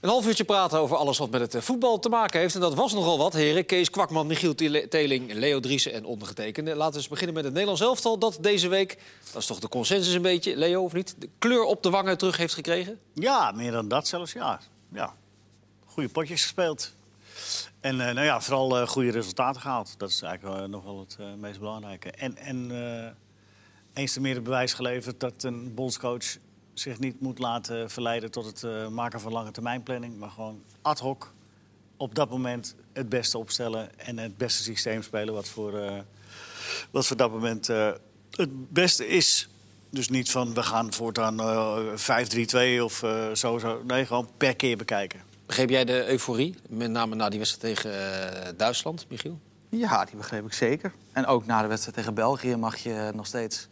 Een half uurtje praten over alles wat met het eh, voetbal te maken heeft. En dat was nogal wat, heren. Kees Kwakman, Michiel Tele- Teling, Leo Driessen en ondergetekende. Laten we eens beginnen met het Nederlands elftal. Dat deze week, dat is toch de consensus een beetje, Leo of niet? De kleur op de wangen terug heeft gekregen. Ja, meer dan dat zelfs, ja. ja. Goede potjes gespeeld. En eh, nou ja, vooral eh, goede resultaten gehaald. Dat is eigenlijk eh, nog wel het eh, meest belangrijke. En, en eh, eens te meer het bewijs geleverd dat een bondscoach zich niet moet laten verleiden tot het eh, maken van lange termijn planning. Maar gewoon ad hoc op dat moment het beste opstellen en het beste systeem spelen wat voor, eh, wat voor dat moment eh, het beste is. Dus niet van we gaan voortaan eh 5-3-2 of eh, zo, zo. Nee, gewoon per keer bekijken. Begreep jij de euforie? Met name na die wedstrijd tegen eh, Duitsland, Michiel? Ja, die begreep ik zeker. En ook na de wedstrijd tegen België mag je nog steeds...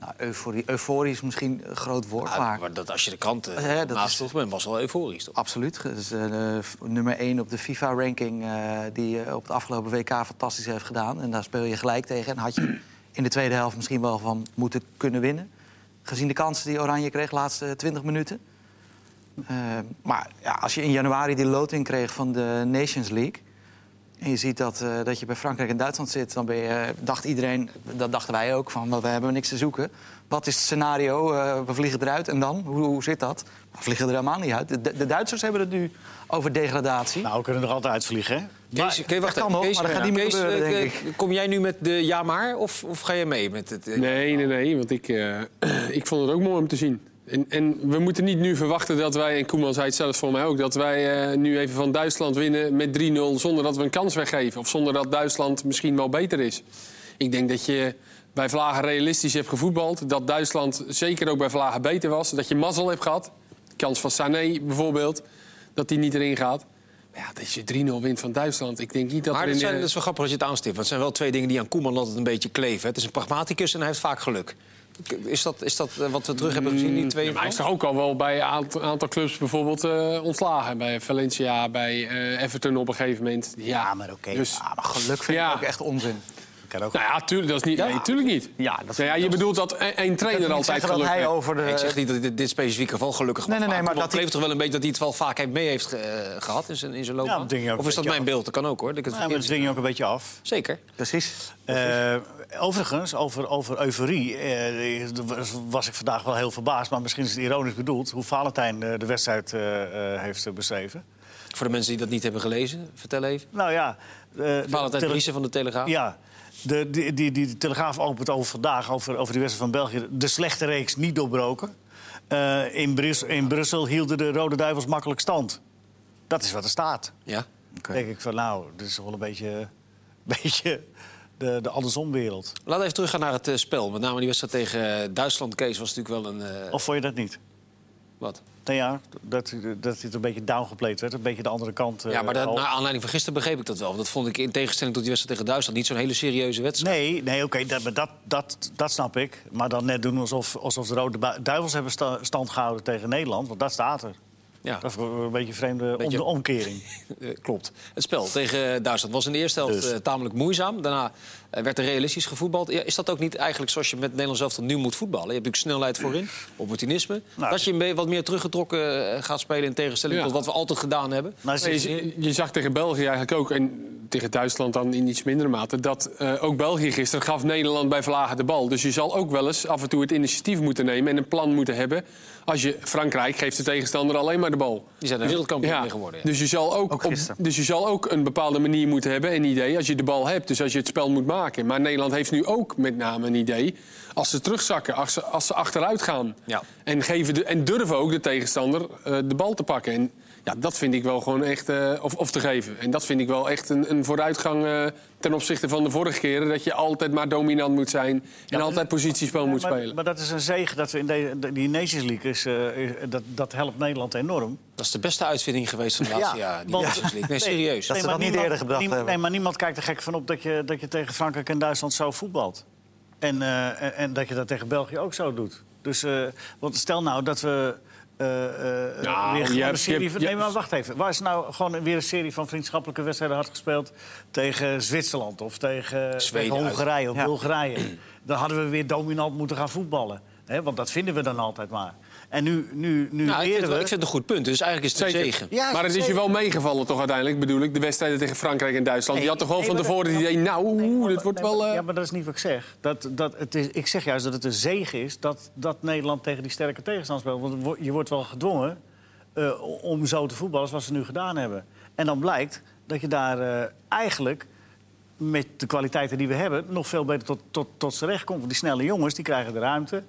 Nou, euforie, euforie is misschien een groot woord, Ah, maar... maar dat, als je de krant eh, Ja, dat naast is- toch bent, was wel euforisch. Toch? Absoluut. Dat is eh, f- nummer 1 op de FIFA-ranking eh, die eh, op het afgelopen WK fantastisch heeft gedaan. En daar speel je gelijk tegen. En had je in de tweede helft misschien wel van moeten kunnen winnen. Gezien de kansen die Oranje kreeg de laatste 20 minuten. Eh, maar ja, als je in januari die loting kreeg van de Nations League... en je ziet dat, eh, dat je bij Frankrijk en Duitsland zit... dan ben je, eh, dacht iedereen, dat dachten wij ook, van "Wat, we hebben niks te zoeken. Wat is het scenario? Eh, we vliegen eruit en dan? Hoe, hoe zit dat? We vliegen er helemaal niet uit. De, de Duitsers hebben het nu over degradatie. Nou, we kunnen er altijd uitvliegen, hè? Kees, Kees, wacht dat even. kan nog, Kees, maar dat gaat niet meer Kees, gebeuren, eh, denk eh, Kom jij nu met de ja maar of, of ga je mee met het... eh, Nee, nee, nee, want ik, eh, ik vond het ook mooi om te zien. En, en we moeten niet nu verwachten dat wij, en Koeman zei het zelfs voor mij ook... dat wij eh, nu even van Duitsland winnen met 3-0 zonder dat we een kans weggeven. Of zonder dat Duitsland misschien wel beter is. Ik denk dat je bij Vlagen realistisch hebt gevoetbald. Dat Duitsland zeker ook bij Vlagen beter was. Dat je mazzel hebt gehad. Kans van Sané bijvoorbeeld, dat die niet erin gaat. Maar ja, dat je 3-0 wint van Duitsland. Ik denk niet dat maar er dat, in, zijn, eh, dat is wel grappig als je het aanstipt. Want het zijn wel twee dingen die aan Koeman altijd een beetje kleven. hè. Het is een pragmaticus en hij heeft vaak geluk. Is dat, is dat eh, wat we terug hebben gezien, die twee? Ja, maar hij is toch ook al wel bij een aant- aantal clubs bijvoorbeeld eh, ontslagen. Bij Valencia, bij eh, Everton op een gegeven moment. Ja, Ja, maar oké. Dus, Ah, maar geluk vind Ja. ik ook echt onzin. Kan ook. nou ja, tuurlijk, dat is niet, nee, tuurlijk niet. Ja, dat dat vind nou ja, ik je ook. bedoelt dat e- één Ik trainer wil niet altijd zeggen dat geluk hij heeft. over de... Ik zeg niet dat dit, dit specifieke geval gelukkig was. Nee, nee, nee, maar Koeman dat hij- kleeft toch wel een beetje dat hij het wel vaak heeft mee heeft eh, gehad in zijn, in zijn Ja, loopbaan? dat denk ik ook of is een dat beetje mijn beeld? Dat kan ook, hoor. Dat ik het Nou, maar verkeerd zie. dat dwing je ook een beetje af. Zeker. Precies. Eh, overigens, over, over euforie. eh, was, was ik vandaag wel heel verbaasd, maar misschien is het ironisch bedoeld. hoe Valentijn eh, de wedstrijd eh, eh, heeft eh, beschreven. Voor de mensen die dat niet hebben gelezen, vertel even. Nou ja. eh, de Valentijn tele- Driessen van de Telegraaf. Ja. De, die, die, die Telegraaf opent over vandaag, over, over die wedstrijd van België. De slechte reeks niet doorbroken. Eh, in, Brus- in Brussel hielden de Rode Duivels makkelijk stand. Dat is wat er staat. Ja. Oké. denk ik van, nou, dit is wel een beetje, beetje de, de andersomwereld. Laten we even teruggaan naar het eh, spel. Met name die wedstrijd tegen eh, Duitsland, Kees, was natuurlijk wel een... eh, Of vond je dat niet? wat? Nou ja, dat, dat dit een beetje downgeplay werd. Een beetje de andere kant. eh, Ja, maar dat, nou- al. naar aanleiding van gisteren begreep ik dat wel. Want dat vond ik in tegenstelling tot die wedstrijd tegen Duitsland... niet zo'n hele serieuze wedstrijd. Nee, nee oké, dat, maar dat, dat, dat snap ik. Maar dan net doen alsof, alsof de Rode Bu- Duivels hebben sta- stand gehouden tegen Nederland. Want dat staat er. Ja. Dat is wel een beetje een vreemde om, Beetje- de omkering. Eh, klopt. Het spel tegen Duitsland was in de eerste helft Dus. eh, tamelijk moeizaam. Daarna eh, werd er realistisch gevoetbald. Ja, Is dat ook niet eigenlijk zoals je met Nederland zelf nu moet voetballen? Je hebt natuurlijk snelheid voorin, opportunisme. Nou, dat je een be- wat meer teruggetrokken eh, gaat spelen in tegenstelling Ja. tot wat we altijd gedaan hebben. Maar Nou, ze- Nee, je, je zag tegen België eigenlijk ook, en tegen Duitsland dan in iets mindere mate... dat eh, ook België gisteren gaf Nederland bij Vlagen de bal. Dus je zal ook wel eens af en toe het initiatief moeten nemen... en een plan moeten hebben. Als je Frankrijk geeft de tegenstander alleen maar de bal. Die zijn er wereldkampioen mee geworden. Ja. Dus je, zal ook Ook op- gisteren. dus je zal ook een bepaalde manier moeten hebben, een idee, als je de bal hebt. Dus als je het spel moet maken. Maar Nederland heeft nu ook met name een idee als ze terugzakken, als ze, als ze achteruit gaan. Ja. En, geven de, en durven ook de tegenstander eh, de bal te pakken. En ja, dat vind ik wel gewoon echt, eh, of, of te geven. En dat vind ik wel echt een, een vooruitgang eh, ten opzichte van de vorige keren. Dat je altijd maar dominant moet zijn en altijd positiespel moet maar, spelen. maar dat is een zegen dat we in de, die Nations League is. eh, is- dat, dat helpt Nederland enorm. Dat is de beste uitvinding geweest van de laatste Ja, jaren. Die want- Nations League. Nee, serieus. Dat- ze maar niet eerder gebracht niem- hebben. Nee, maar niemand kijkt er gek van op dat je, dat je tegen Frankrijk en Duitsland zo voetbalt. En, eh, en, en dat je dat tegen België ook zo doet. Dus eh, want stel nou dat we. eh, eh, Nou, weer je gewoon een hebt- je serie hebt- van, je nee, maar hebt- wacht even. Waar is nou gewoon weer een serie van vriendschappelijke wedstrijden had gespeeld tegen Zwitserland of tegen, eh, Zweden tegen Hongarije of Ja. Bulgarije? Dan hadden we weer dominant moeten gaan voetballen. Hè, want dat vinden we dan altijd maar. En nu, nu, nu Nou, ik vind eren het we... wel- ik vind het een goed punt, dus eigenlijk is het een Zeker. zegen. Ja, maar het is je wel meegevallen toch uiteindelijk, bedoel ik, de wedstrijden tegen Frankrijk en Duitsland. je Oh, had toch wel nee, van maar dat- tevoren het idee, nou, oeh, dit wordt Nee, maar- wel... eh, Ja, maar dat is niet wat ik zeg. Dat, dat, het is, ik zeg juist dat het een zegen is dat, dat Nederland tegen die sterke tegenstander speelt. Want wo- je wordt wel gedwongen eh, om zo te voetballen zoals ze nu gedaan hebben. En dan blijkt dat je daar eh, eigenlijk met de kwaliteiten die we hebben... nog veel beter tot, tot, tot z'n recht komt. Want die snelle jongens die krijgen de ruimte.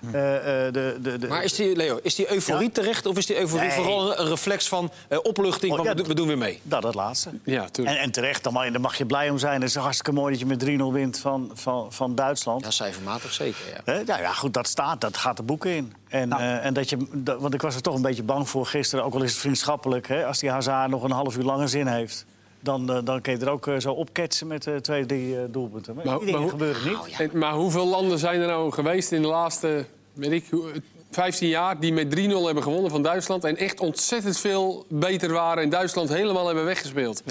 Hm. Eh, eh, de, de, de, Maar is die, Leo, is die euforie Ja. terecht of is die euforie Nee. vooral een- een reflex van eh, opluchting? Oh, want ja, we, do- we doen weer mee. dat, dat laatste. Ja, tuurlijk. En, en terecht, dan mag, daar mag je blij om zijn. Het is hartstikke mooi dat je met 3-0 wint van, van, van Duitsland. Ja, cijfermatig zeker. Ja. Hè, nou ja, goed, dat staat, dat gaat de boeken in. En, eh, en dat je, dat- want ik was er toch een beetje bang voor gisteren, ook al is het vriendschappelijk. Hè, als die Hazard nog een half uur lange zin heeft, dan, eh, dan kun je er ook eh, zo opketsen met eh, twee, drie eh, doelpunten. Maar, Maar- die dingen maar hoe- Ah, gebeuren niet. En- maar hoeveel landen zijn er nou geweest in de laatste weet ik, hoe- 15 jaar die met 3-0 hebben gewonnen van Duitsland en echt ontzettend veel beter waren en Duitsland helemaal hebben weggespeeld?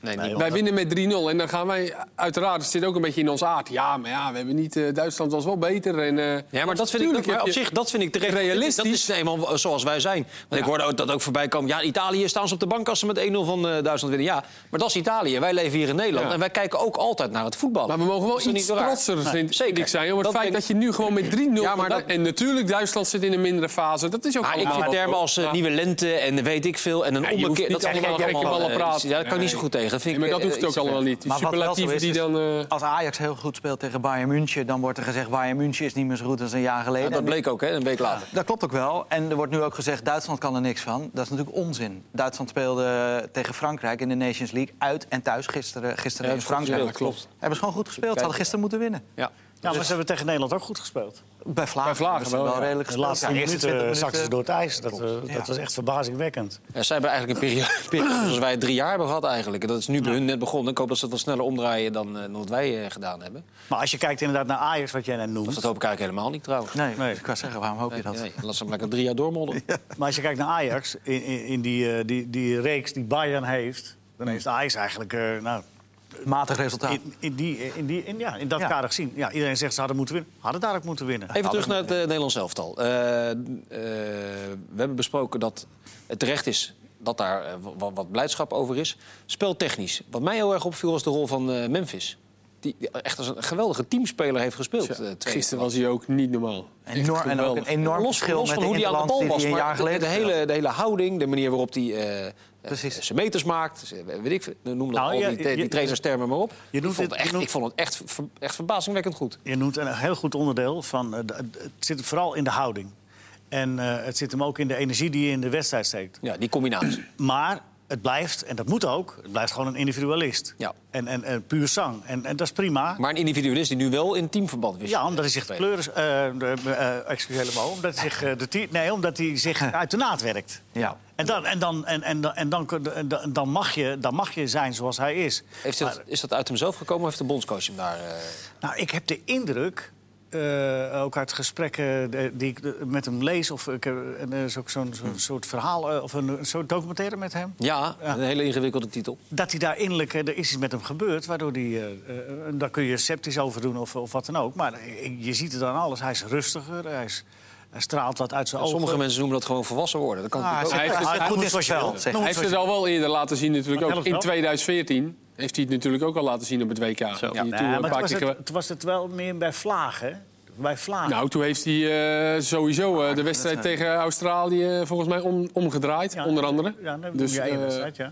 Nee, Nee, niet. Wij winnen met 3-0 en dan gaan wij, uiteraard, het zit ook een beetje in ons aard. Ja, maar ja, we hebben niet, eh, Duitsland was wel beter. En, eh, Ja, maar dat vind ik, tuurlijk maar heb op je- zich, dat vind ik terecht. Realistisch. Dat is eenmaal zoals wij zijn. Want ik hoorde ook dat ook voorbij komen. Ja, Italië staan ze op de bank als ze met 1-0 van eh, Duitsland winnen. Ja, maar dat is Italië. Wij leven hier in Nederland. Ja. En wij kijken ook altijd naar het voetbal. Maar we mogen wel iets trotser vind, zeker. vind ik zijn. Over het Dat feit denk- dat je nu gewoon met 3-0... Ja, maar van- dat- En natuurlijk, Duitsland zit in een mindere fase. Dat is ook Maar ik allemaal- vind termen als eh, Maar- nieuwe lente en weet ik veel... en een Ja, je hoeft ommekeer... niet Dat zijn allemaal allemaal, gekke allemaal ballen eh, praten. Ja, daar kan ik niet zo Nee. goed tegen. Vind Nee, maar ik, dat eh, hoeft iets ook te ver. allemaal niet. Die Maar wat wel zo superlatieven is, die is- dan... eh, Als Ajax heel goed speelt tegen Bayern München... dan wordt er gezegd Bayern München is niet meer zo goed als een jaar Ja, geleden. dat En bleek ook, hè, een week later. Dat klopt ook wel. En er wordt nu ook gezegd, Duitsland kan er niks van. Dat is natuurlijk onzin. Duitsland speelde tegen Frankrijk in de Nations League uit en thuis gisteren, gisteren Ja, in is goed Frankrijk. gespeeld, klopt. Hebben ze gewoon goed gespeeld. Ze hadden gisteren moeten winnen. Ja. Ja, maar ze hebben tegen Nederland ook goed gespeeld. Bij Vlagen, Vlagen hebben ze wel, wel ja. redelijk De gespeeld. laatste Ja, de eerste minuten, 20 zakten ze door het ijs. Dat, eh, eh, Ja. dat was echt verbazingwekkend. Ja, zij hebben eigenlijk een periode, Ah. periode zoals wij het drie jaar hebben gehad eigenlijk. En Dat is nu bij hun net begonnen. Ik hoop dat ze het wel sneller omdraaien dan, eh, dan wat wij eh, gedaan hebben. Hm. Maar als je kijkt inderdaad naar Ajax, wat jij net noemt... Dus dat hoop ik eigenlijk helemaal niet trouwens. Nee, Nee. ik wou zeggen, waarom hoop je dat? Nee, laat ze hem lekker drie jaar doormodden. Maar als je kijkt naar Ajax, in, in, in die, eh, die, die reeks die Bayern heeft... dan heeft Ajax eigenlijk eh, nou, Matig resultaat. in, in, die, in, die, in, ja, in dat Ja. kader gezien. Ja, iedereen zegt ze hadden moeten winnen. Hadden daar ook moeten winnen. Even terug naar het eh, Nederlands elftal. Eh, eh, we hebben besproken dat het terecht is dat daar eh, wa- wat, blijdschap over is. Speltechnisch. Wat mij heel erg opviel was de rol van eh, Memphis. Die, die echt als een geweldige teamspeler heeft gespeeld. eh, twee- Gisteren was hij ook niet normaal. Echt Enorm, en ook geweldig. een enorm los, verschil los met van de hoe hij aan de Interlands bal die was. hij een maar jaar de- geleden de, hele, de hele houding, de manier waarop hij eh, eh, Precies. zijn meters maakt. Dus, eh, weet ik, veel, noem dat al Nou, ja, die, eh, je- die trainerstermen maar op. noemt ik, vond dit- het je echt, noemt- ik vond het echt, ver- echt verbazingwekkend goed. Je noemt een heel goed onderdeel van. eh, d- Het zit vooral in de houding. En eh, het zit hem ook in de energie die je in de wedstrijd steekt. Ja, die combinatie. Maar het blijft, en dat moet ook, het blijft gewoon een individualist. Ja. En, en, en puur zang. En, en dat is prima. Maar een individualist die nu wel in teamverband wist. Ja, omdat hij zich de kleuren. eh, de- eh, excuus helemaal. Omdat hij zich, eh, de tie- nee, omdat hij zich uit de naad werkt. Ja. En, dan, en, dan, en, en, dan- en, dan, kun- en dan- dan, mag je, dan mag je zijn zoals hij is. Heeft dat, is dat uit hemzelf gekomen of heeft de bondscoach hem daar... eh, Nou, ik heb de indruk, eh, ook uit gesprekken eh, die ik eh, met hem lees... of ik, heb- en er is ook zo'n zo'n soort verhaal eh, of een, een soort documentaire met hem... Ja, een hele ingewikkelde titel. dat hij daar innerlijk, eh, er is iets met hem gebeurd... waardoor hij, eh, eh, en daar kun je sceptisch over doen of, of wat dan ook... maar eh, je ziet het aan alles, hij is rustiger, hij, is, hij straalt wat uit zijn ogen... Sommige mensen noemen dat gewoon volwassen worden. Dat kan Ah, natuurlijk zeg- ook. Hij heeft het- Ah, hij noem moet het zoals je wel, wil. zeg. Noem het Hij heeft zoals het je al wel eerder laten zien natuurlijk Maar ook. helft In wel. 2014 heeft hij het natuurlijk ook al laten zien op het WK. Die wil. toen Nee, maar een paar toen was keer het, gewe- toen was het wel meer bij vlagen. Bij vlagen. Nou, toen heeft hij eh, sowieso Ah, eh, de wedstrijd wedstrijd. tegen Australië volgens mij om, omgedraaid, Ja, onder andere. Ja, dan dus ja, één eh, wedstrijd, Ah,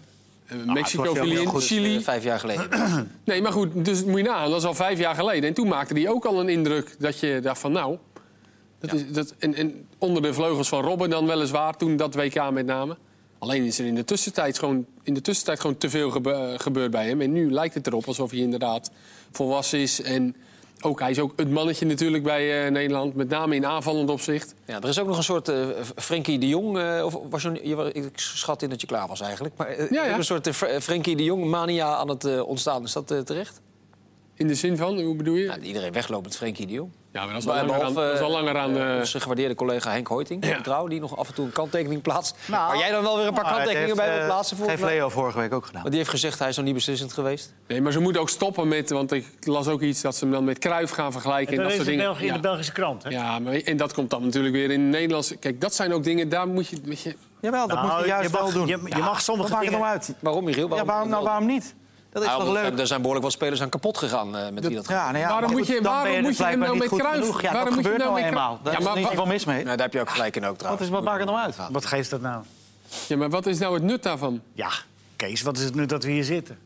ja. Mexico het was viel heel in, goed, Chili. Eh, Vijf jaar geleden. Nee, maar goed, dus moet je nagaan, dat is al vijf jaar geleden. En toen maakte hij ook al een indruk dat je dacht van nou... Dat is, dat, en, en onder de vleugels van Robben dan weliswaar, toen dat WK met name. Alleen is er in de tussentijd gewoon, in de tussentijd gewoon te veel gebe- eh, gebeurd bij hem. En nu lijkt het erop alsof hij inderdaad volwassen is. En ook, hij is ook het mannetje natuurlijk bij eh, Nederland, met name in aanvallend opzicht. Ja, er is ook nog een soort eh, Frenkie de Jong. eh, of was je, je, wa- ik schat in dat je klaar was eigenlijk. Maar eh, er is ja. een soort eh, Fr- eh, Frenkie de Jong mania aan het eh, ontstaan. Is dat eh, terecht? In de zin van, hoe bedoel je? Nou, iedereen wegloopt met Frenkie de Jong. Ja, maar dat is al Maar langer aan, behalve, dat is al langer aan eh, eh, onze gewaardeerde collega Henk Hoiting, Ja. trouw, die nog af en toe een kanttekening plaatst. Nou, waar jij dan wel weer een paar Maar het kanttekeningen heeft, bij eh, wil plaatsen. volgens Heeft mij. Leo vorige week ook gedaan. Want die heeft gezegd, hij is nog niet beslissend geweest. Nee, maar ze moeten ook stoppen met... Want ik las ook iets dat ze hem dan met Kruif gaan vergelijken. En, Dat dat is soort in, dingen. België, in de ja. Belgische krant, hè? Ja, maar, en dat komt dan natuurlijk weer in het Nederlands. Kijk, dat zijn ook dingen, daar moet je... Weet je Jawel, dat moet Nou, je juist mag, wel doen. Je, je mag Wat sommige maakt het dingen... nou uit? Waarom, Michiel? Ja, waarom, nou, waarom niet? Dat is Ah, toch want leuk? Er zijn behoorlijk wat spelers aan kapot gegaan eh, met wie dat gaat. Ja, nou ja, Waarom maar moet je- goed, dan waarom ben moet dus je hem blijkbaar nou niet goed met Cruijff? genoeg. Ja, Waarom dat moet je gebeurt hem nou nou met eenmaal. Cruijff? Daar Ja, is maar niks wa- van mis mee. Nou, daar heb je ook gelijk in ook Wat, trouwens. is, wat maakt het nou uit? Wat geeft dat nou? Ja, maar wat is nou het nut daarvan? Ja, Kees, wat is het nu dat we hier zitten?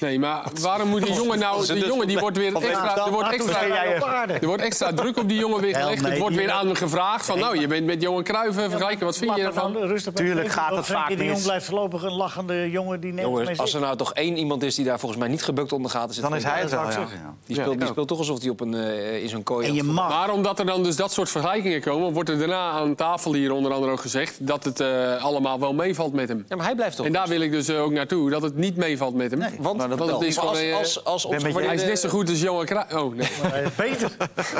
Nee, maar waarom moet die jongen nou... Die jongen die wordt weer extra... Er wordt extra, Ah, jij op aarde. er wordt extra druk op die jongen weer gelegd. nee, Er wordt die- weer aan hem gevraagd van... Nou, je bent met Johan Cruijff eh, vergelijken. Wat vind je Laat maar dan ervan? Rustig bij Tuurlijk even, gaat want het Frenkie vaak de Jong mis. blijft voorlopig een lachende jongen die neemt Jongens, als er nou toch één iemand is die daar volgens mij niet gebukt onder gaat... Is het Dan is Henk. hij het wel, dat zou ja. ik zeggen, Die speelt, die speelt toch alsof hij op een, eh, in zo'n kooi... En je mag. Maar omdat er dan dus dat soort vergelijkingen komen... wordt er daarna aan tafel hier onder andere ook gezegd... dat het eh, allemaal wel meevalt met hem. Ja, maar hij blijft toch... En daar wil ik dus eh, ook naartoe, dat het niet meevalt met hem. Want, Maar dat want wel. het is Maar gewoon, als- eh, als- als onze een beetje- Hij gewaardeerde- is net zo goed als Johan Cruijff. Oh, nee. Eh, Peter.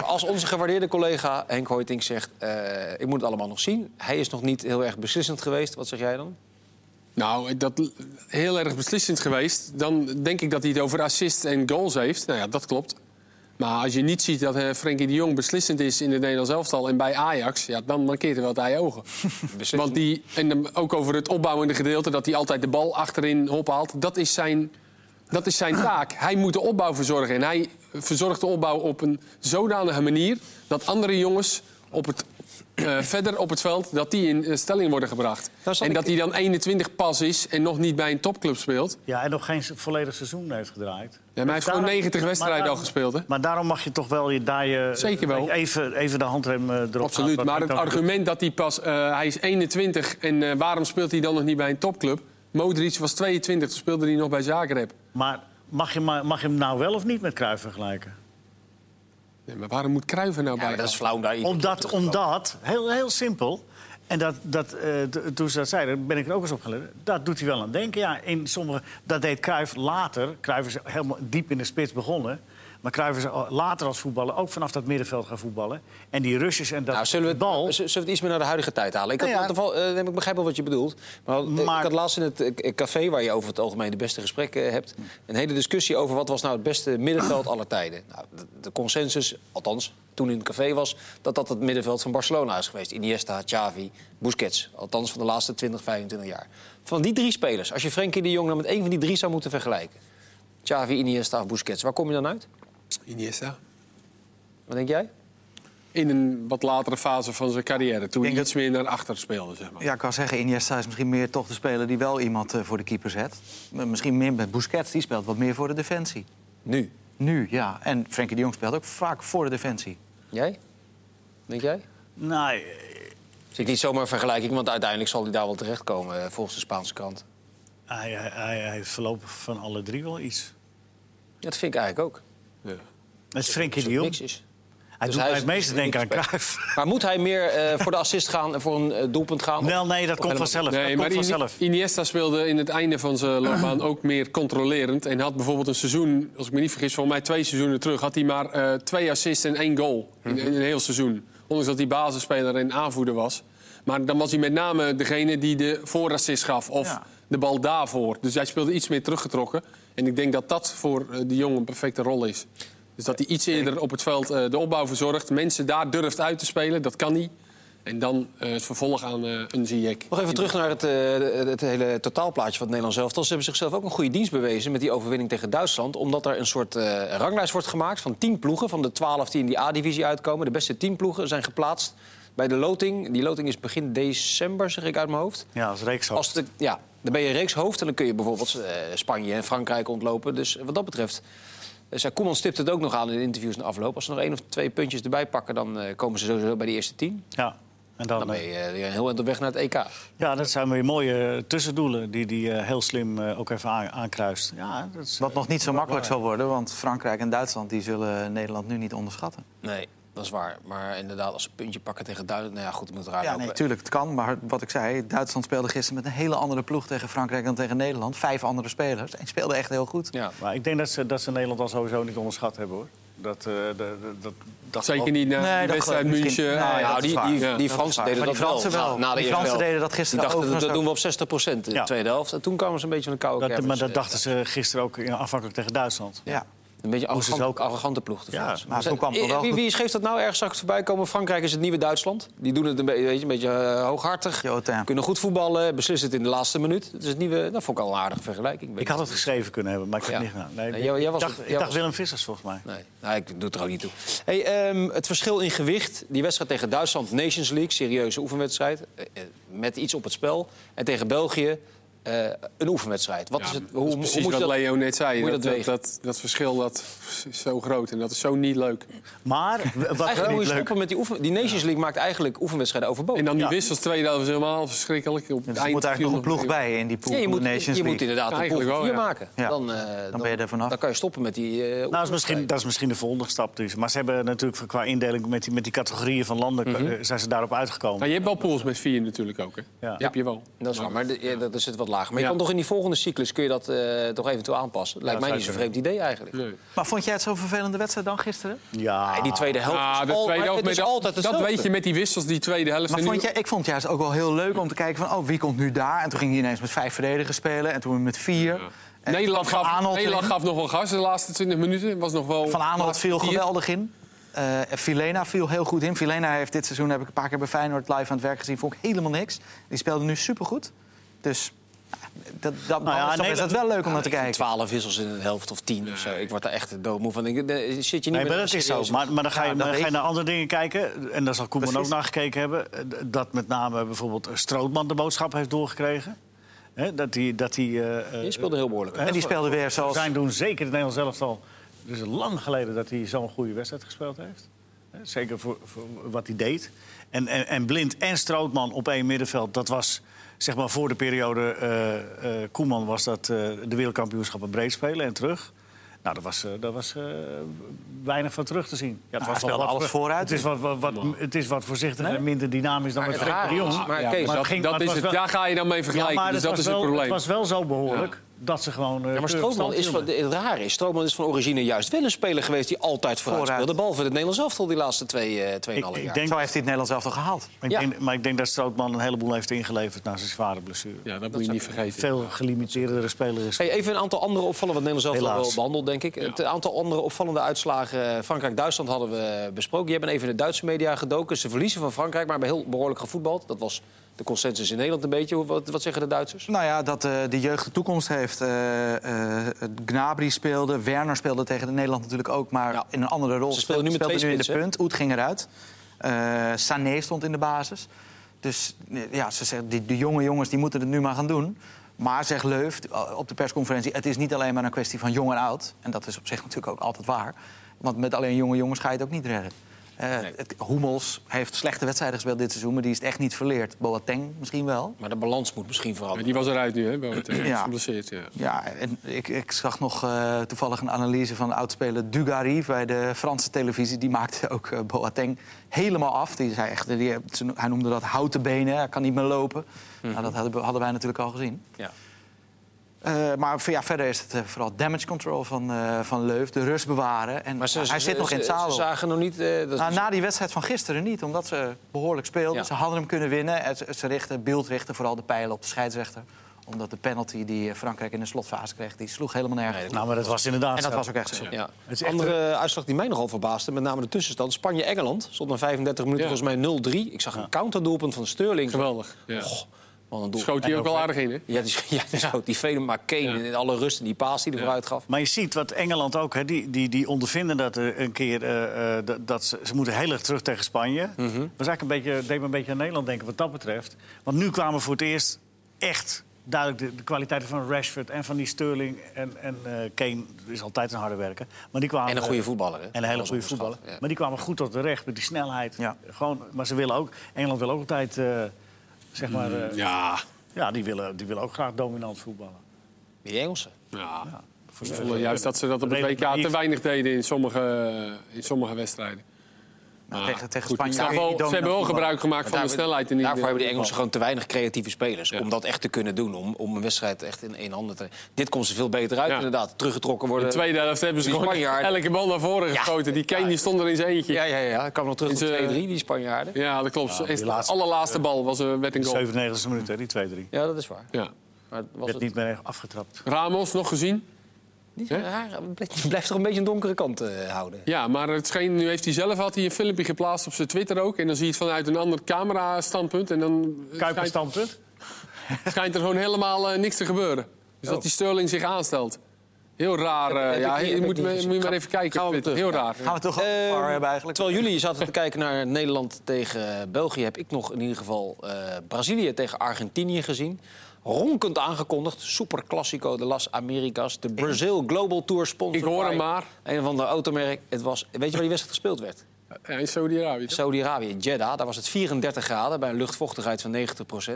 Als onze gewaardeerde collega Henk Hoytink zegt... eh, ik moet het allemaal nog zien. Hij is nog niet heel erg beslissend geweest. Wat zeg jij dan? Nou, dat l- heel erg beslissend geweest. Dan denk ik dat hij het over assist en goals heeft. Nou ja, dat klopt. Maar als je niet ziet dat eh, Frenkie de Jong beslissend is in het Nederlands elftal en bij Ajax, ja, dan mankeert er wat aan je ogen. Want die, en dan ook over het opbouwende gedeelte, dat hij altijd de bal achterin ophaalt, dat is zijn, dat is zijn taak. Hij moet de opbouw verzorgen. En hij verzorgt de opbouw op een zodanige manier dat andere jongens op het, eh, verder op het veld dat die in eh, stelling worden gebracht. Nou, zal en ik- dat hij dan 21 pas is en nog niet bij een topclub speelt. Ja, en nog geen se- volledig seizoen heeft gedraaid. Ja, maar hij heeft gewoon Daarom- 90 wedstrijden maar al daarom- gespeeld. Hè? Maar daarom mag je toch wel je, daar je Zeker wel. Even, even de handrem eh, erop Absoluut, gaan, maar het dat- argument dat hij pas... eh, hij is 21 en eh, waarom speelt hij dan nog niet bij een topclub? Modric was 22, toen speelde hij nog bij Zagreb. Maar mag je, maar mag je hem nou wel of niet met Cruijff vergelijken? Nee, maar waarom moet Cruijff er nou bij? dat is flauw daar Omdat, omdat heel, heel simpel. En dat, dat, eh, t- toen ze dat zeiden, ben ik er ook eens op gelet. Dat doet hij wel aan denken. Ja, in sommige, dat deed Cruijff later. Cruijff is helemaal diep in de spits begonnen. Maar Cruijff is al- later als voetballer ook vanaf dat middenveld gaan voetballen. En die Russische en dat Nou, zullen we, het, bal... z- zullen we het iets meer naar de huidige tijd halen? Ik, had, Nou ja. in ieder geval, eh, neem ik begrijp wel wat je bedoelt. Maar, eh, Maar- ik had laatst in het eh, café, waar je over het algemeen de beste gesprekken eh, hebt... een hele discussie over wat was nou het beste middenveld aller tijden. Nou, de, de consensus, althans toen in het café was... dat dat het middenveld van Barcelona is geweest. Iniesta, Xavi, Busquets. Althans van de laatste 20, 25 jaar. Van die drie spelers, als je Frenkie de Jong nou met één van die drie zou moeten vergelijken... Xavi, Iniesta of Busquets, waar kom je dan uit? Iniesta. Wat denk jij? In een wat latere fase van zijn carrière, toen hij denk iets meer naar achter speelde. Zeg maar. Ja, ik kan zeggen, Iniesta is misschien meer toch de speler die wel iemand eh, voor de keeper zet. Maar Misschien meer met Busquets, die speelt wat meer voor de defensie. Nu. Nu, ja. En Frenkie de Jong speelt ook vaak voor de defensie. Jij? Denk jij? Nou, Dus ik niet zomaar een vergelijking, want uiteindelijk zal hij daar wel terechtkomen eh, volgens de Spaanse krant. hij, hij, hij heeft voorlopig van alle drie wel iets. Dat vind ik eigenlijk ook. Ja. Dat is Frenkie Als de het Jong. niks is. Hij Dus doet hij mij is het meeste een denken aan linksback. Cruijff. Maar moet hij meer eh, voor de assist gaan en voor een eh, doelpunt gaan? Of- Nee, nee, dat of komt helemaal vanzelf. Nee, dat maar komt Ini- vanzelf. Iniesta speelde in het einde van zijn loopbaan ook meer controlerend. En had bijvoorbeeld een seizoen, als ik me niet vergis, volgens mij twee seizoenen terug... had hij maar eh, twee assists en één goal Mhm. in, in een heel seizoen. Ondanks dat hij basisspeler en aanvoerder was. Maar dan was hij met name degene die de voorassist gaf of Ja. de bal daarvoor. Dus hij speelde iets meer teruggetrokken. En ik denk dat dat voor eh, de jongen een perfecte rol is. Dus dat hij iets eerder op het veld eh, de opbouw verzorgt. Mensen daar durft uit te spelen, dat kan hij. En dan eh, het vervolg aan eh, een Ziyech. Nog even terug naar het, eh, het hele totaalplaatje van het Nederlands elftal. Ze hebben zichzelf ook een goede dienst bewezen met die overwinning tegen Duitsland. Omdat er een soort eh, ranglijst wordt gemaakt van 10 ploegen. Van de 12 die in die A-divisie uitkomen. De beste 10 ploegen zijn geplaatst bij de loting. Die loting is begin december, zeg ik uit mijn hoofd. Ja, als reeks Als de, ja, dan ben je reekshoofd en dan kun je bijvoorbeeld eh, Spanje en Frankrijk ontlopen. Dus wat dat betreft. eh, zei Koeman stipt het ook nog aan in de interviews na afloop. Als ze nog één of twee puntjes erbij pakken, dan eh, komen ze sowieso bij de eerste tien. Ja. En Dan dan, ben je eh, weer een heel eind op weg naar het EK. ja, dat zijn weer mooie eh, tussendoelen die die eh, heel slim eh, ook even aan- aankruist. Ja, dat is, Wat nog niet zo makkelijk zal worden, want Frankrijk en Duitsland... die zullen Nederland nu niet onderschatten. Nee, dat is waar. Maar inderdaad, als ze een puntje pakken tegen Duitsland... Nou ja, goed, het moet raar Ja, nee, tuurlijk, het kan. Maar wat ik zei, Duitsland speelde gisteren met een hele andere ploeg tegen Frankrijk dan tegen Nederland. Vijf andere spelers. En speelde echt heel goed. ja. Maar ik denk dat ze, dat ze Nederland al sowieso niet onderschat hebben, hoor. Dat, eh, dat, dat, dat, dat- Zeker niet na Nee, de dat geloof wedstrijd ik München. misschien. Nee, Ajax. dat Nou, is die, waar. die, Ja. die Dat Fransen waar. deden Maar dat die Fransen wel. Na de Die eerste Fransen helft. deden dat gisteren Die dachten, overigens dat doen we ook. op 60 in de Ja. tweede helft. En toen kwamen ze een beetje van de koude dat, kermis. maar dat dachten ze gisteren ook in- aanvankelijk tegen Duitsland. Ja. Een beetje Moesten arrogant, ze ook- arrogante ploeg. de Ja, Fransen. maar toen kwam het Eh, wel wie, goed. wie geeft dat nou ergens zacht voorbij komen? Frankrijk is het nieuwe Duitsland. Die doen het een beetje, weet je, een beetje eh, hooghartig. Jota. Kunnen goed voetballen, beslissen het in de laatste minuut. Dat, is het nieuwe, dat vond ik al een aardige vergelijking. Ik had het geschreven kunnen hebben, maar ik heb Ja. het niet gedaan. Nee, Nee, ik- jij- jij was ik dacht, het- ik jij dacht was- Willem Vissers, volgens mij. Nee, nou, ik doe het er ook niet toe. Hey, ehm, het verschil in gewicht. Die wedstrijd tegen Duitsland, Nations League, serieuze oefenwedstrijd. eh, eh, met iets op het spel. En tegen België, eh, een oefenwedstrijd. Wat is het, hoe, Dat is hoe precies moet je dat... wat Leo net zei. moet je dat, dat dat, dat, dat verschil dat is zo groot en dat is zo niet leuk. Maar wat Eigenlijk wel moet je niet leuk stoppen met die oefen... Die Nations League maakt eigenlijk oefenwedstrijden overbodig. En dan die Ja. wissels tweede helft is helemaal verschrikkelijk. Op Dus het er eind moet viel eigenlijk nog een ploeg bij in die pool Ja, je van de moet, Nations je moet League. inderdaad een pool Eigenlijk van wel, vier ja. maken. Ja. Dan, eh, Dan ben je er vanaf. Dan kan je stoppen met die eh, Nou, dat is, oefenwedstrijden. misschien, dat is misschien de volgende stap. Dus. Maar ze hebben natuurlijk voor- qua indeling met die, met die categorieën van landen... Mhm. eh, zijn ze daarop uitgekomen. Maar je hebt wel pools met vier natuurlijk ook. Hè? Ja. Heb je wel. Nou, Dat is waar, maar de- ja, dat is het wat lager. Maar je Ja. kan toch in die volgende cyclus kun je dat eh, toch eventueel aanpassen. Lijkt dat mij niet zou zo'n vreemd idee eigenlijk. Nee. Maar vond jij het zo'n vervelende wedstrijd dan gisteren? Ja, Nee, die tweede helft Ah, is, de al- tweede helft het is met- altijd dat hetzelfde. weet je met die wissels, die tweede helft. Maar En nu- vond jij, ik vond het juist ook wel heel leuk om te kijken van... oh, wie komt nu daar? En toen ging hij ineens met vijf verdedigers spelen. En toen met vier. En Nederland, Van gaf, Aanholt Nederland erin. gaf nog wel gas de laatste 20 minuten. Was nog wel Van Aanholt viel Hier- geweldig in. Eh Filena viel heel goed in. Filena heeft dit seizoen, heb ik een paar keer bij Feyenoord live aan het werk gezien... vond ik helemaal niks. Die speelde nu supergoed. Dus dat, dat, ja, anders dan is dat Nederland- wel leuk om naar te Ik vind kijken. Twaalf wissels in een helft of tien of zo. Ik word daar echt doodmoe van. Ik, eh, zit je niet met Nee, maar dat een is zo. serieuze- Maar, maar dan ga je, Ja, dat maar dan ga weet je je. naar andere dingen kijken. En daar zal Koeman ook Precies. naar gekeken hebben. Eh, d- Dat met name bijvoorbeeld Strootman de boodschap heeft doorgekregen. Hè, dat hij... Dat hij eh, eh, Je speelde heel behoorlijk. hè, En die voor- speelde weer voor zoals... zijn doen, zeker in Nederland zelf al. Het is lang geleden dat hij zo'n goede wedstrijd gespeeld heeft. Hè, Zeker voor, voor wat hij deed. En, en, en Blind en Strootman op één middenveld, dat was... Zeg maar voor de periode eh, eh, Koeman was dat eh, de wereldkampioenschappen breed spelen en terug. Nou, daar was, eh, daar was eh, weinig van terug te zien. Ja, het Nou, hij wel speelde wat- alles vooruit. Het is wat, wat, wat- het is wat voorzichtiger en minder dynamisch dan met het Frenkie de rare Jong. is- maar Ja, Kees, maar het dat, ging- dat maar het is was het, wel- daar ga je dan mee Ja, vergelijken. maar dus het dat was is het wel- probleem. Het was wel zo behoorlijk dat ze gewoon... eh, Ja, maar keurig Strootman is stand van, het rare is, Strootman is van origine juist wel een speler geweest... die altijd vooruit, Vooruit. speelde. Behalve het Nederlands elftal die laatste twee, eh, hielden. 2,5 Ik, ik jaar. denk Zo heeft hij het Nederlands zelf toch gehaald. Maar Ja. ik, denk, maar ik denk dat Strootman een heleboel heeft ingeleverd na zijn zware blessure. Ja, dat moet je niet vergeten. Veel gelimiteerdere spelers. is. Hey, even een aantal andere opvallende, wat Nederland zelf al wel Helaas. behandeld, denk ik. Het aantal andere opvallende uitslagen. eh, Frankrijk-Duitsland hadden we besproken. Je bent even in de Duitse media gedoken. Ze verliezen van Frankrijk, maar hebben heel behoorlijk gevoetbald. Dat was de consensus in Nederland een beetje. Hoe- Wat, wat zeggen de Duitsers? Nou ja, dat eh, de jeugd de toekomst heeft. Eh, eh, Gnabry speelde, Werner speelde tegen Nederland natuurlijk ook, maar Ja. in een andere rol. Ze spelen nu met twee in de spitsen, punt. Oet ging eruit. Eh Sané stond in de basis. Dus eh, ja, ze zeggen, die, die jonge jongens die moeten het nu maar gaan doen. Maar zegt Leuf eh, op de persconferentie... het is niet alleen maar een kwestie van jong en oud. En dat is op zich natuurlijk ook altijd waar. Want met alleen jonge jongens ga je het ook niet redden. Eh het- Hummels heeft slechte wedstrijden gespeeld dit seizoen... maar die is het echt niet verleerd. Boateng misschien wel. Maar de balans moet misschien Ja, veranderen. die was eruit nu, hè? Boateng. Ja. Geblesseerd, ja. Ja, en ik, ik zag nog eh, toevallig een analyse van oudspeler Dugarry bij de Franse televisie. Die maakte ook eh, Boateng helemaal af. Die zei echt, die, ze- hij noemde dat houten benen, hij kan niet meer lopen. Mhm. Nou, dat hadden, we- hadden wij natuurlijk al gezien. Ja. Eh, maar v- ja, verder is het eh, vooral damage control van, eh van Leuf, de rust bewaren. En Maar ze- hij ze- zit nog in het ze- Ze zadel. zagen nog niet... eh, dat Nou, na die wedstrijd van gisteren niet, omdat ze behoorlijk speelden. Ja. Ze hadden hem kunnen winnen. En ze- Ze richten, Beeld richtte vooral de pijlen op de scheidsrechter. Omdat de penalty die eh, Frankrijk in de slotfase kreeg, die sloeg helemaal nergens. Nee, op. Nou, maar dat was inderdaad En dat zo. was ook echt zo. Ja. Het is Een echt andere uitslag die mij nogal verbaasde, met name de tussenstand. Spanje-Engeland stond na 35 minuten Ja. volgens mij 0-3. Ik zag een counterdoelpunt van Sterling. Geweldig. Ja. Och, wat een doel. Schoot hij ook wel aardig in, hè? Ja, die, ja, die, schoot die vele maar Kane in alle rust en die paas die hij vooruit gaf. Maar je ziet wat Engeland ook, hè, die, die, die ondervinden dat er een keer. eh, eh, dat- dat ze, ze moeten heel erg terug tegen Spanje. Mhm. Was eigenlijk een beetje, deed me een beetje aan Nederland denken wat dat betreft. Want nu kwamen voor het eerst echt duidelijk de, de kwaliteiten van Rashford en van die Sterling. En, en eh, Kane is altijd een harde werker. Maar die kwamen, En een eh, goede voetballer, hè? En een hele goede voetballer. Ja. Maar die kwamen goed tot de recht met die snelheid. Ja. Gewoon, maar ze willen ook. Engeland wil ook altijd. eh, zeg maar, eh, ja, Ja. die, willen, die willen ook graag dominant voetballen. Die Engelsen. ja. Voor- Ik voelde juist dat ze dat op het Redelijk WK te naïef. weinig deden in sommige, in sommige wedstrijden. Nou, Ah, tegen tegen goed, ik Spanje. snap kun je wel, niet ze hebben wel dominant gebruik gemaakt van de Daarvoor- snelheid. In die, Daarvoor hebben de Engelsen gewoon te weinig creatieve spelers Ja. om dat echt te kunnen doen. Om, om een wedstrijd echt in één handen te... Dit komt ze veel beter uit, Ja. inderdaad. Teruggetrokken de worden. tweede helft hebben ze die gewoon Spanjaarden. elke bal naar voren Ja. geschoten. Die Kane die stond er in zijn eentje. Ja, Ja, ja, ja. Ik kwam nog terug op Is, eh, 2-3, die Spanjaarden. dat klopt. die Echt de laatste- allerlaatste bal was, eh, werd een goal. 97e minuut, hè, die 2-3. Werd Ja, dat is waar. Ja. Maar was het niet meer echt afgetrapt. Ramos, nog gezien? niet zo raar? Het blijft- blijft toch een beetje een donkere kant eh, houden. Ja, maar het scheen, nu heeft hij zelf had hij een filmpje geplaatst op zijn Twitter ook. En dan zie je het vanuit een ander camera-standpunt. En dan Kuiper schijnt, standpunt. schijnt er gewoon helemaal eh, niks te gebeuren. Dus dat die Sterling zich aanstelt. Heel raar. eh, Oh. Heb- heb ja, ik niet- je heb moet, ik niet me- gezien. moet je maar Ga- even kijken. gaan we op Twitter. terug. Heel raar. Gaan we toch Eh, VAR hebben eigenlijk? Terwijl jullie zaten te kijken naar Nederland tegen eh, België... heb ik nog in ieder geval eh, Brazilië tegen Argentinië gezien. Ronkend aangekondigd. Super Classico de Las Americas. De Brazil Global Tour sponsor. Ik hoor hem by maar. Een van de automerk. Het was, weet je waar die wedstrijd gespeeld werd? Ja, in Saudi-Arabië. Saudi-Arabië, in Jeddah. Daar was het 34 graden bij een luchtvochtigheid van 90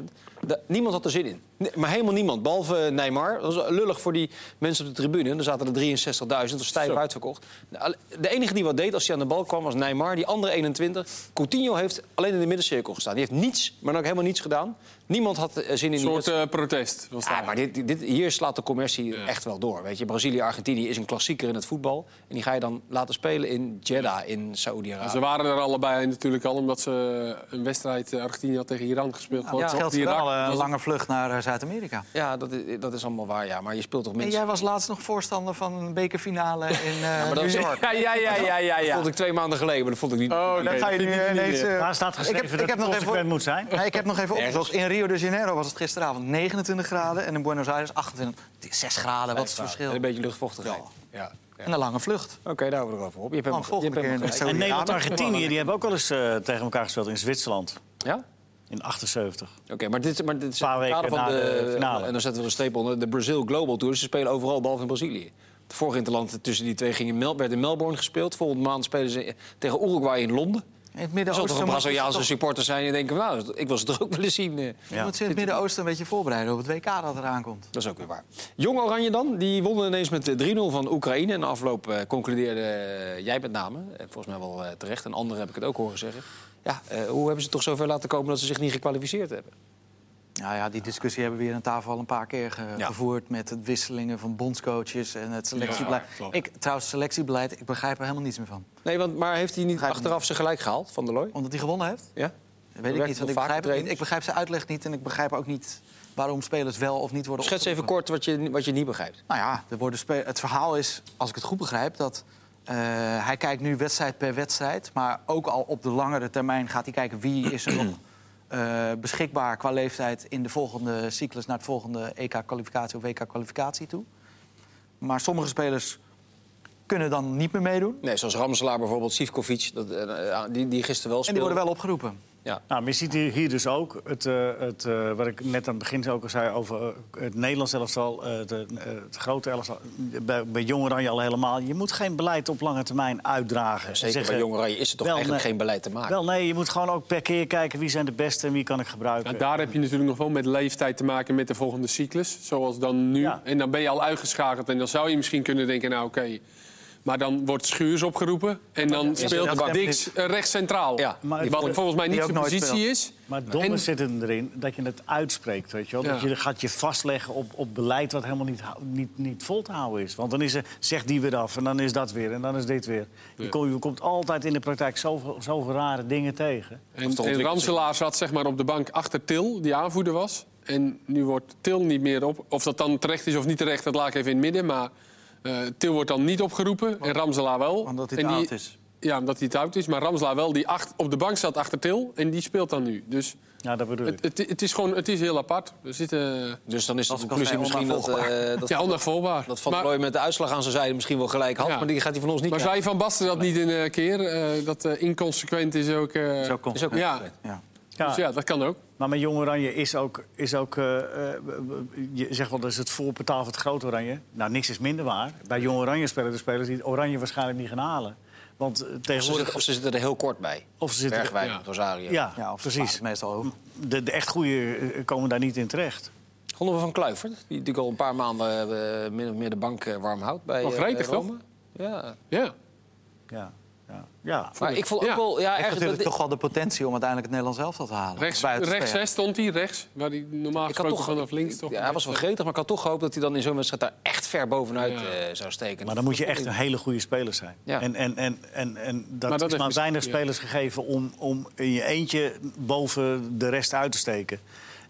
Da- niemand had er zin in. Nee, maar helemaal niemand, behalve eh, Neymar. Dat was lullig voor die mensen op de tribune. Er zaten er 63.000, dat was stijf uitverkocht. De- al- De enige die wat deed als hij aan de bal kwam was Neymar. Die andere 21. Coutinho heeft alleen in de middencirkel gestaan. Die heeft niets, maar dan ook helemaal niets gedaan. Niemand had eh, zin in Een die soort wedstrijd. eh, protest. Was Ja, daar. maar dit, dit, hier slaat de commercie echt wel door. Weet je, Brazilië-Argentinië is een klassieker in het voetbal. En die ga je dan laten spelen in Jeddah, in Saoedi-Arabië. Ze waren er allebei natuurlijk al, omdat ze een wedstrijd eh, Argentinië had tegen Iran gespeeld. Nou, dat Gewoon geldt op voor Irak. eh, wel een Dat was- lange vlucht naar eh, Zuid-Amerika. Ja, dat is, dat is allemaal waar, ja. Maar je speelt toch En mensen... jij was laatst nog voorstander van een bekerfinale in eh New York. Ja, ja, ja, ja, ja. Dat ja. vond ik twee maanden geleden, maar dat vond ik niet... Oh, Dan nee, ga je dat nu vind ik niet ineens... meer. eh, Waar staat geschreven dat het consequent moet zijn? Nee, ik heb nog even opgezocht. In Rio de Janeiro was het gisteravond 29 graden... en in Buenos Aires 28. Het is 6 graden, wat is het verschil? En een beetje luchtvochtigheid. Ja. En een lange vlucht. Oké, daar houden we nog over op. Je hebt Dan hem, je Oh, volgende hebt keer hem gelijk. in En Saudi-Arabië. Nederland-Argentinië, die hebben ook wel eens eh, tegen elkaar gespeeld in Zwitserland. Ja? In 78. Oké, maar dit, maar dit is Paar weken kader na de finale. En dan zetten we een streep onder. De Brazil Global Tour. Ze spelen overal, behalve in Brazilië. Het vorige interland tussen die twee ging in Mel- werd in Melbourne gespeeld. Volgende maand spelen ze tegen Uruguay in Londen. In het Er zal toch Midden-Oosten een moet je Braziliaanse toch- supporter zijn die denken... nou, ik wil ze toch ook willen zien. eh. je Ja. moet ze in het Midden-Oosten een beetje voorbereiden op het WK dat eraan komt. Dat is ook weer waar. Jong Oranje dan, die wonnen ineens met eh, 3-0 van Oekraïne. En na afloop eh, concludeerde eh, jij met name, eh, volgens mij wel eh, terecht... en anderen heb ik het ook horen zeggen... Ja, eh, hoe hebben ze het toch zover laten komen dat ze zich niet gekwalificeerd hebben? Nou ja, die discussie hebben we hier aan tafel al een paar keer ge- Ja. gevoerd... met het wisselingen van bondscoaches en het selectiebeleid. Ja, klopt. ik, trouwens, selectiebeleid, ik begrijp er helemaal niets meer van. Nee, want, maar heeft hij niet Begrijp ik achteraf ze gelijk gehaald, Van der Looy? Omdat hij gewonnen heeft? Ja? Dat weet ik Werkt niet, het want ik vaak begrijp, op het niet. trainers? ik begrijp zijn uitleg niet... en ik begrijp ook niet waarom spelers wel of niet worden Schets even opgeroepen. kort wat je, wat je niet begrijpt. Nou ja, er worden spe- het verhaal is, als ik het goed begrijp, dat eh, hij kijkt nu wedstrijd per wedstrijd. Maar ook al op de langere termijn gaat hij kijken wie is er nog eh, beschikbaar qua leeftijd in de volgende cyclus naar het volgende EK-kwalificatie of WK-kwalificatie toe. Maar sommige spelers kunnen dan niet meer meedoen. Nee, zoals Ramselaar bijvoorbeeld, Sivkovic, dat, eh, eh, die, die gisteren wel En speelde. die worden wel opgeroepen. Ja. Nou, maar je ziet hier hier dus ook het, eh, het, eh, wat ik net aan het begin ook al zei over eh, het Nederlands elftal, eh, het, eh, het grote elftal. Bij, bij Jong Oranje al helemaal. Je moet geen beleid op lange termijn uitdragen. Zeker Zeggen, bij Jong Oranje is er toch wel, eigenlijk nee. geen beleid te maken. Wel nee, je moet gewoon ook per keer kijken wie zijn de beste en wie kan ik gebruiken. Ja, daar heb je natuurlijk nog wel met leeftijd te maken met de volgende cyclus, zoals dan nu. Ja. En dan ben je al uitgeschakeld en dan zou je misschien kunnen denken, nou oké. Maar dan wordt Schuurs opgeroepen en dan dat speelt is- Dix eh, rechts centraal. Ja. Maar het- Wat volgens mij die niet ook zijn nooit positie speelt. is. Maar het domme Nou, En- zit hem erin dat je het uitspreekt, weet je wel. Dat Ja. je gaat je vastleggen op, op beleid wat helemaal niet, hou- niet, niet vol te houden is. Want dan is er, zegt die weer af en dan is dat weer en dan is dit weer. Je, kom- je komt altijd in de praktijk zoveel, zoveel rare dingen tegen. En, en Ramselaar zat zeg maar op de bank achter Til, die aanvoerder was. En nu wordt Til niet meer op. Of dat dan terecht is of niet terecht, dat laat ik even in het midden. Maar eh, Til wordt dan niet opgeroepen en Ramselaar wel. Omdat hij En te die- oud is. Ja, omdat hij te oud is. Maar Ramselaar wel, die acht, op de bank zat achter Til en die speelt dan nu. Dus Ja, dat bedoel het, ik. het, het is gewoon het is heel apart. Er zitten Dus dan is de Als ik al conclusie zei, misschien dat, eh, dat, ja, onnavolbaar. dat Van der maar, Looy met de uitslag aan zijn zijde misschien wel gelijk had. Ja. Maar die gaat hij van ons niet maar krijgen. zei Van Basten dat niet in een keer? Eh, dat eh, inconsequent is ook... eh, Zo komt Is ook ja. ja. Ja. Dus ja, dat kan ook. Maar met Jong Oranje is ook... Is ook eh, eh, je zegt wel, dat is het voorportaal van het Groot Oranje. Nou, niks is minder waar. Bij Jong Oranje spelen de spelers die het Oranje waarschijnlijk niet gaan halen. Want eh, Of ze, tegenwoordig... zitten, of ze zitten er heel kort bij. Of ze zitten- Bergwijn, ja. Rosario. Ja, ja, of precies. precies. Meestal ook. De, de echt goede eh, komen daar niet in terecht. Gonden we van Kluivert, die natuurlijk al een paar maanden eh, min of meer de bank eh, warm houdt bij Wel eh, gretig, Rome. Ja, Ja. Ja. Ja. ja. Maar ik vond ook Ja. wel... Ja, Hij heeft ergens natuurlijk dat- toch wel de potentie om uiteindelijk het Nederlands elftal te halen. Rechts, Buiten rechts spelen. hè, stond hij, rechts. Waar hij normaal ik had gesproken toch- vanaf links toch... Ja, hij was wel gretig, maar ik had toch gehoopt dat hij dan in zo'n wedstrijd daar echt ver bovenuit Ja. eh, zou steken. Maar dan moet je echt een hele goede speler zijn. Ja. En, en, en, en, en dat, Maar is dat heeft maar weinig misschien- spelers gegeven om, om in je eentje boven de rest uit te steken.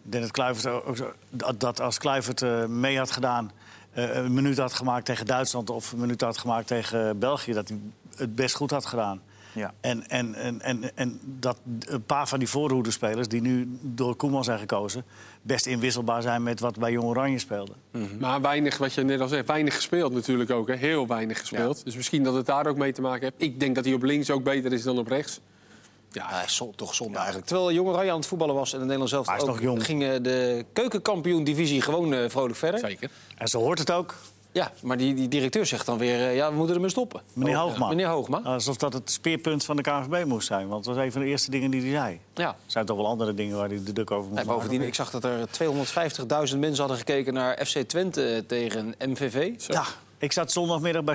Ik denk dat, Kluivert ook zo- dat, dat als Kluivert eh, mee had gedaan, eh, een minuut had gemaakt tegen Duitsland of een minuut had gemaakt tegen België, dat hij het best goed had gedaan. Ja. En, en, en, en, en dat een paar van die voorhoedenspelers die nu door Koeman zijn gekozen, best inwisselbaar zijn met wat bij Jong Oranje speelde. Mhm. Maar weinig, wat je net al zegt, weinig gespeeld natuurlijk ook. Hè? Heel weinig gespeeld. Dus misschien dat het daar ook mee te maken heeft. Ik denk dat hij op links ook beter is dan op rechts. Ja, hij is zo- toch zonde eigenlijk. Terwijl Jong Oranje aan het voetballen was en het Nederlands zelf Hij is ook... nog jong. ging eh, de keukenkampioen-divisie gewoon eh, vrolijk verder. Zeker. En zo hoort het ook. Ja, maar die, die directeur zegt dan weer... eh, ja, we moeten ermee stoppen. Meneer Oh, Hoogma. Meneer Hoogma, Alsof dat het speerpunt van de KNVB moest zijn. Want dat was een van de eerste dingen die hij zei. ja. Er zijn toch wel andere dingen waar hij de druk over moet Nee, maken. bovendien, ik zag dat er 250.000 mensen hadden gekeken naar FC Twente eh, tegen MVV. Ja, ik zat zondagmiddag bij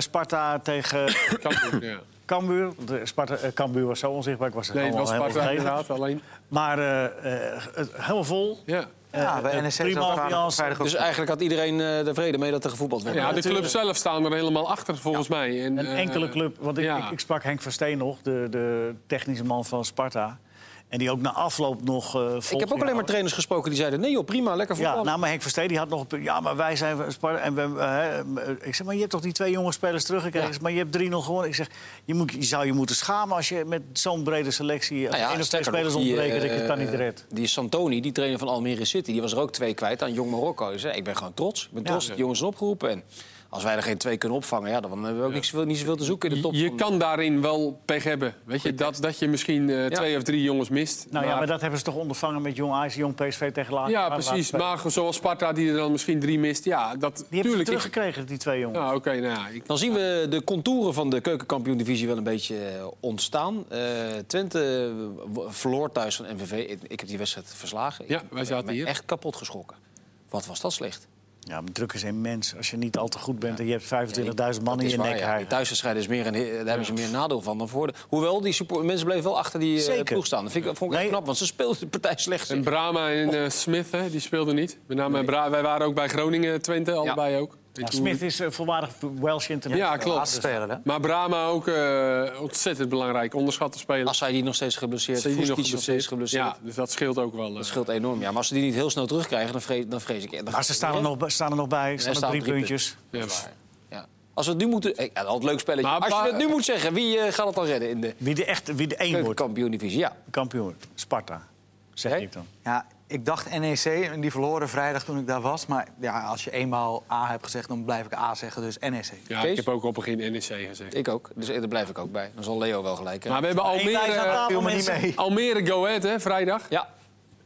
Sparta tegen Kampioen, ja. Cambuur. De Sparta, eh, Cambuur was zo onzichtbaar, ik was er Nee, het allemaal was Sparta helemaal vergeten. inderdaad, alleen... Maar eh, eh, het- helemaal vol. Ja. Ja, E Eh, bij eh, NEC zat prima er aan op ambiance. vrijdag ook Dus eigenlijk had iedereen eh er vrede mee dat er gevoetbald werd. ja, de natuurlijk. club zelf staan er helemaal achter, volgens mij. En, Een eh, enkele club. Want ik, ja. ik, ik sprak Henk Versteen nog, de, de technische man van Sparta. En die ook na afloop nog... eh Ik heb ook alleen maar trainers gesproken die zeiden... nee joh, prima, lekker Ja, voetballen. nou, maar Henk Versteen die had nog een punt. Ja, maar wij zijn Sparta. En we, eh, ik zeg, maar je hebt toch die twee jonge spelers teruggekregen? Maar je hebt 3-0 gewonnen. Ik zeg, je, moet, je zou je moeten schamen als je met zo'n brede selectie... eh, Nou ja, één of twee sterker nog, spelers die, ontbreken dat je het eh, kan niet redt. Die Santoni, die trainer van Almere City, die was er ook twee kwijt aan Jong Marokko. Die zei, ik ben gewoon trots. Ik ben trots dat de jongens zijn opgeroepen. En als wij er geen twee kunnen opvangen, ja, dan hebben we ook niet, zoveel, niet zoveel te zoeken in de top. Je van- kan daarin wel pech hebben. Weet je, dat, dat je misschien eh, twee of drie jongens mist. Nou ja, maar dat hebben ze toch ondervangen met Jong Ajax, Jong PSV tegen Laag. Ja, precies. Die Maar zoals Sparta, die er dan misschien drie mist. Ja, dat hebben ze tuurlijk. ik- teruggekregen, die twee jongens. Nou, oké, nou ja. Ik, Dan zien we de contouren van de keukenkampioen-divisie wel een beetje eh, ontstaan. Eh, Twente w- verloor thuis van MVV. Ik, ik heb die wedstrijd verslagen. Ja, Ik wij zaten ben hier. echt kapot geschrokken. Wat was dat slecht? Ja, maar druk is immens. Als je niet al te goed bent en je hebt 25.000 man Dat in is je waar, ja. nek. Die rijden. thuiswedstrijden is meer een, daar hebben ze meer nadeel van dan voor. de- Hoewel, die support- mensen bleven wel achter die eh, Zeker. ploeg staan. Dat vind ik, vond ik echt Nee. knap, want ze speelden de partij slecht. en Brahma en eh, Smith, hè, die speelden niet. Met name Bra wij waren ook bij Groningen, Twente, allebei ook. Ja, Smith is eh, voorwaardig Welsh international. Ja, klopt. laatste speler, hè? Maar Brahma ook eh, ontzettend belangrijk. Onderschatte speler. Als zij die nog steeds geblesseerd, Zijn die Fuskic nog steeds geblesseerd. Ja, dus dat scheelt ook wel. eh. Dat scheelt enorm. Ja, maar als ze die niet heel snel terugkrijgen, dan vrees, dan vrees ik... Dan Maar Ah, ze staan er, nog, bij- staan er nog bij, staan Er er staan drie drie puntjes. Ja. Dat is waar. Ja. Als we het nu moeten... Ik, ja, dat had een leuk spelletje. Maar- als je maar- het nu moet zeggen, wie eh, gaat het dan redden in de Wie de, echt, wie de één wordt, keukenkampioen-divisie? Ja. kampioen wordt. Sparta, zeg Jij? ik dan. Ja, ik dacht NEC en die verloren vrijdag toen ik daar was. Maar ja, als je eenmaal A hebt gezegd, dan blijf ik A zeggen. Dus NEC. Ja, Kees? ik heb ook op het begin NEC E gezegd. Ik eh, ook. Dus eh, daar blijf ik ook bij. Dan zal Leo wel gelijk hebben. Maar we hebben Almere, eh, Eén lijst aan tafel, viel me niet mensen. mee. Almere Go Ahead, hè, vrijdag. Ja.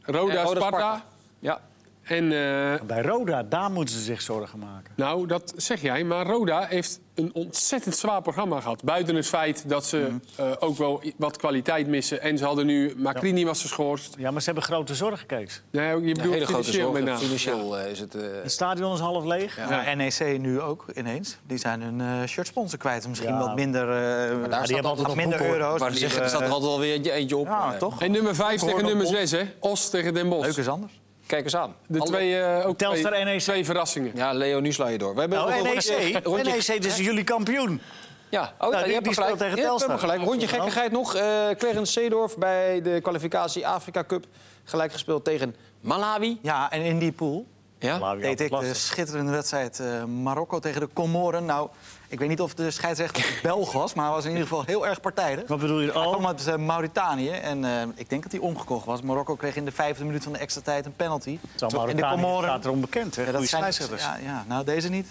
Roda, Eh, Roda, Sparta. Sparta. Ja. En eh, Bij Roda, daar moeten ze zich zorgen maken. nou, dat zeg jij, maar Roda heeft een ontzettend zwaar programma gehad. Buiten het feit dat ze eh, ook wel i- wat kwaliteit missen. En ze hadden nu, Macrini was geschorst. Ja, maar ze hebben grote zorgen, Kees. Nee, je bedoelt Ja, hele grote financieel met zorgen. name. Ja. Financieel eh, is het... eh, Het stadion is half leeg. Ja, maar NEC nu ook ineens. Die zijn hun eh shirtsponsor kwijt. Misschien Ja. wat minder, eh, daar wat staat hebben altijd nog minder boeken, hoor. euro's. maar maar zeggen, die, er staat eh, er altijd wel weer eentje- eentje op. ja, Eh, toch? En nummer 5 tegen Hoorn op nummer ons. 6, hè? Os tegen Den Bosch. Leuk is anders. Kijk eens aan. De Alle- twee, eh, ook Telstar twee, NEC. twee verrassingen. Ja, Leo, nu sla je door. We hebben nog Nou, een NEC, rondje- rondje- NEC, dus jullie kampioen. Ja, oh, Nou, ja, die- je hebt die me speelt gelijk. tegen Je hebt Telstar. me gelijk. Rondje gekkigheid nog. Eh Clarence Seedorf bij de kwalificatie Afrika Cup. Gelijk gespeeld tegen Malawi. Ja, en in die pool Ja? Malawi deed ik de lastig. schitterende wedstrijd eh, Marokko tegen de Comoren. Nou, ik weet niet of de scheidsrechter Belg was, maar hij was in ieder geval heel erg partijdig. Wat bedoel je? Hij kwam Oh, uit eh, Mauritanië en eh, ik denk dat hij omgekocht was. Marokko kreeg in de vijfde minuut van de extra tijd een penalty. terwijl en de Mauritanië staat er onbekend, hè? Ja, Goeie dat zijn, scheidsrechters. ja, ja, nou deze niet.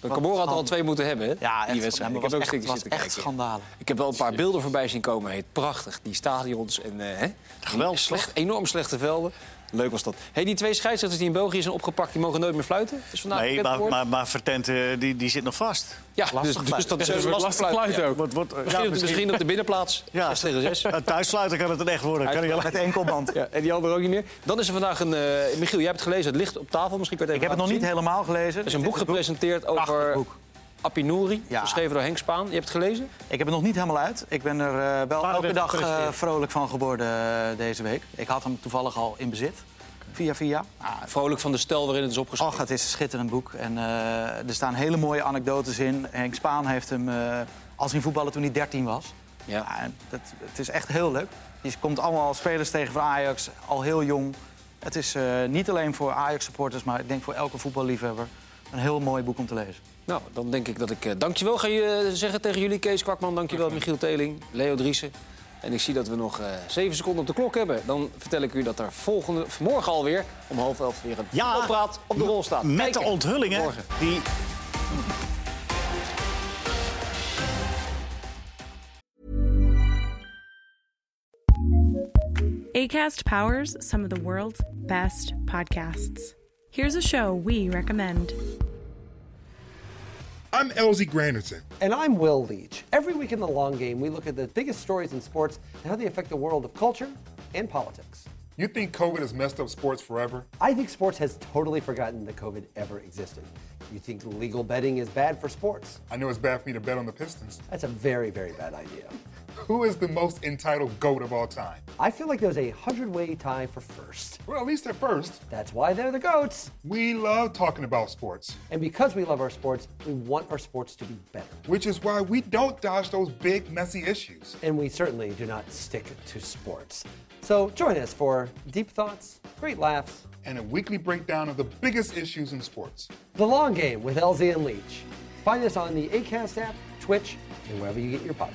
De Camora had er al twee moeten hebben, hè? Ja, die echt, wedstrijd. ja, Ik maar heb ook was echt- stukjes was zitten echt kijken. schandalen. Ik heb wel een paar beelden voorbij zien komen. Heet prachtig. Die stadions en eh, hè? Geweldig, Slecht, enorm slechte velden. Leuk was dat. Hey, die twee scheidsrechters die in België zijn opgepakt, die mogen nooit meer fluiten. Is vandaag Nee, bekend maar, geworden. maar, maar Vertent, eh, die, die zit nog vast. nou, ja, dus, dus dat is Dat is lastig lastig fluiten. fluiten ook. Wordt, wordt, eh, Misschien, op ja, de, misschien. misschien op de binnenplaats. Ja. 6 tegen 6. Eh, thuissluiter kan het een echt worden. Kan hij alleen- Met de enkelband. Ja, en die andere ook niet meer. Dan is er vandaag een... eh, Michiel, jij hebt het gelezen, het ligt op tafel. Misschien kan je Ik het heb even het nog niet laten zien. helemaal gelezen. Er is een boek gepresenteerd over... boek. Apinouri, Ja. geschreven door Henk Spaan. Je hebt het gelezen? Ik heb het nog niet helemaal uit. Ik ben er eh, wel Paarden elke dag eh, gepresteerd. vrolijk van geworden eh, deze week. Ik had hem toevallig al in bezit. Via via. Ah, Vrolijk van de stel waarin het is opgeschreven. Och, het is een schitterend boek. En eh, er staan hele mooie anekdotes in. Henk Spaan heeft hem eh, als hij voetballen toen hij 13 was. Ja. Ah, en dat, het is echt heel leuk. Je komt allemaal spelers tegen van Ajax, al heel jong. Het is eh, niet alleen voor Ajax-supporters, maar ik denk voor elke voetballiefhebber... een heel mooi boek om te lezen. Nou, dan denk ik dat ik eh, dankjewel ga je, eh, zeggen tegen jullie. Kees Kwakman, dankjewel. Michiel Teling, Leo Driessen. En ik zie dat we nog eh, zeven seconden op de klok hebben. Dan vertel ik u dat er volgende, morgen alweer om half elf weer een Ja, voetbalpraat op de rol staat. Met Kijken. de onthullingen Morgen. die ACAST powers some of the world's best podcasts. Here's a show we recommend. I'm Elsie Granderson. And I'm Will Leach. Every week in the long game, we look at the biggest stories in sports and how they affect the world of culture and politics. You think COVID has messed up sports forever? I think sports has totally forgotten that COVID ever existed. You think legal betting is bad for sports? I know it's bad for me to bet on the Pistons. That's a very, very bad idea. Who is the most entitled GOAT of all time? I feel like there's a hundred way tie for first. Well, at least at first, That's why they're the GOATs. we love talking about sports, And because we love our sports, we want our sports to be better. which is why we don't dodge those big, messy issues. And we certainly do not stick to sports. So join us for deep thoughts, great laughs, And a weekly breakdown of the biggest issues in sports. The Long Game with LZ and Leach. Find us on the ACAST app, Twitch, and wherever you get your podcasts.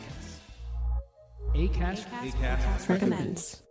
recommends.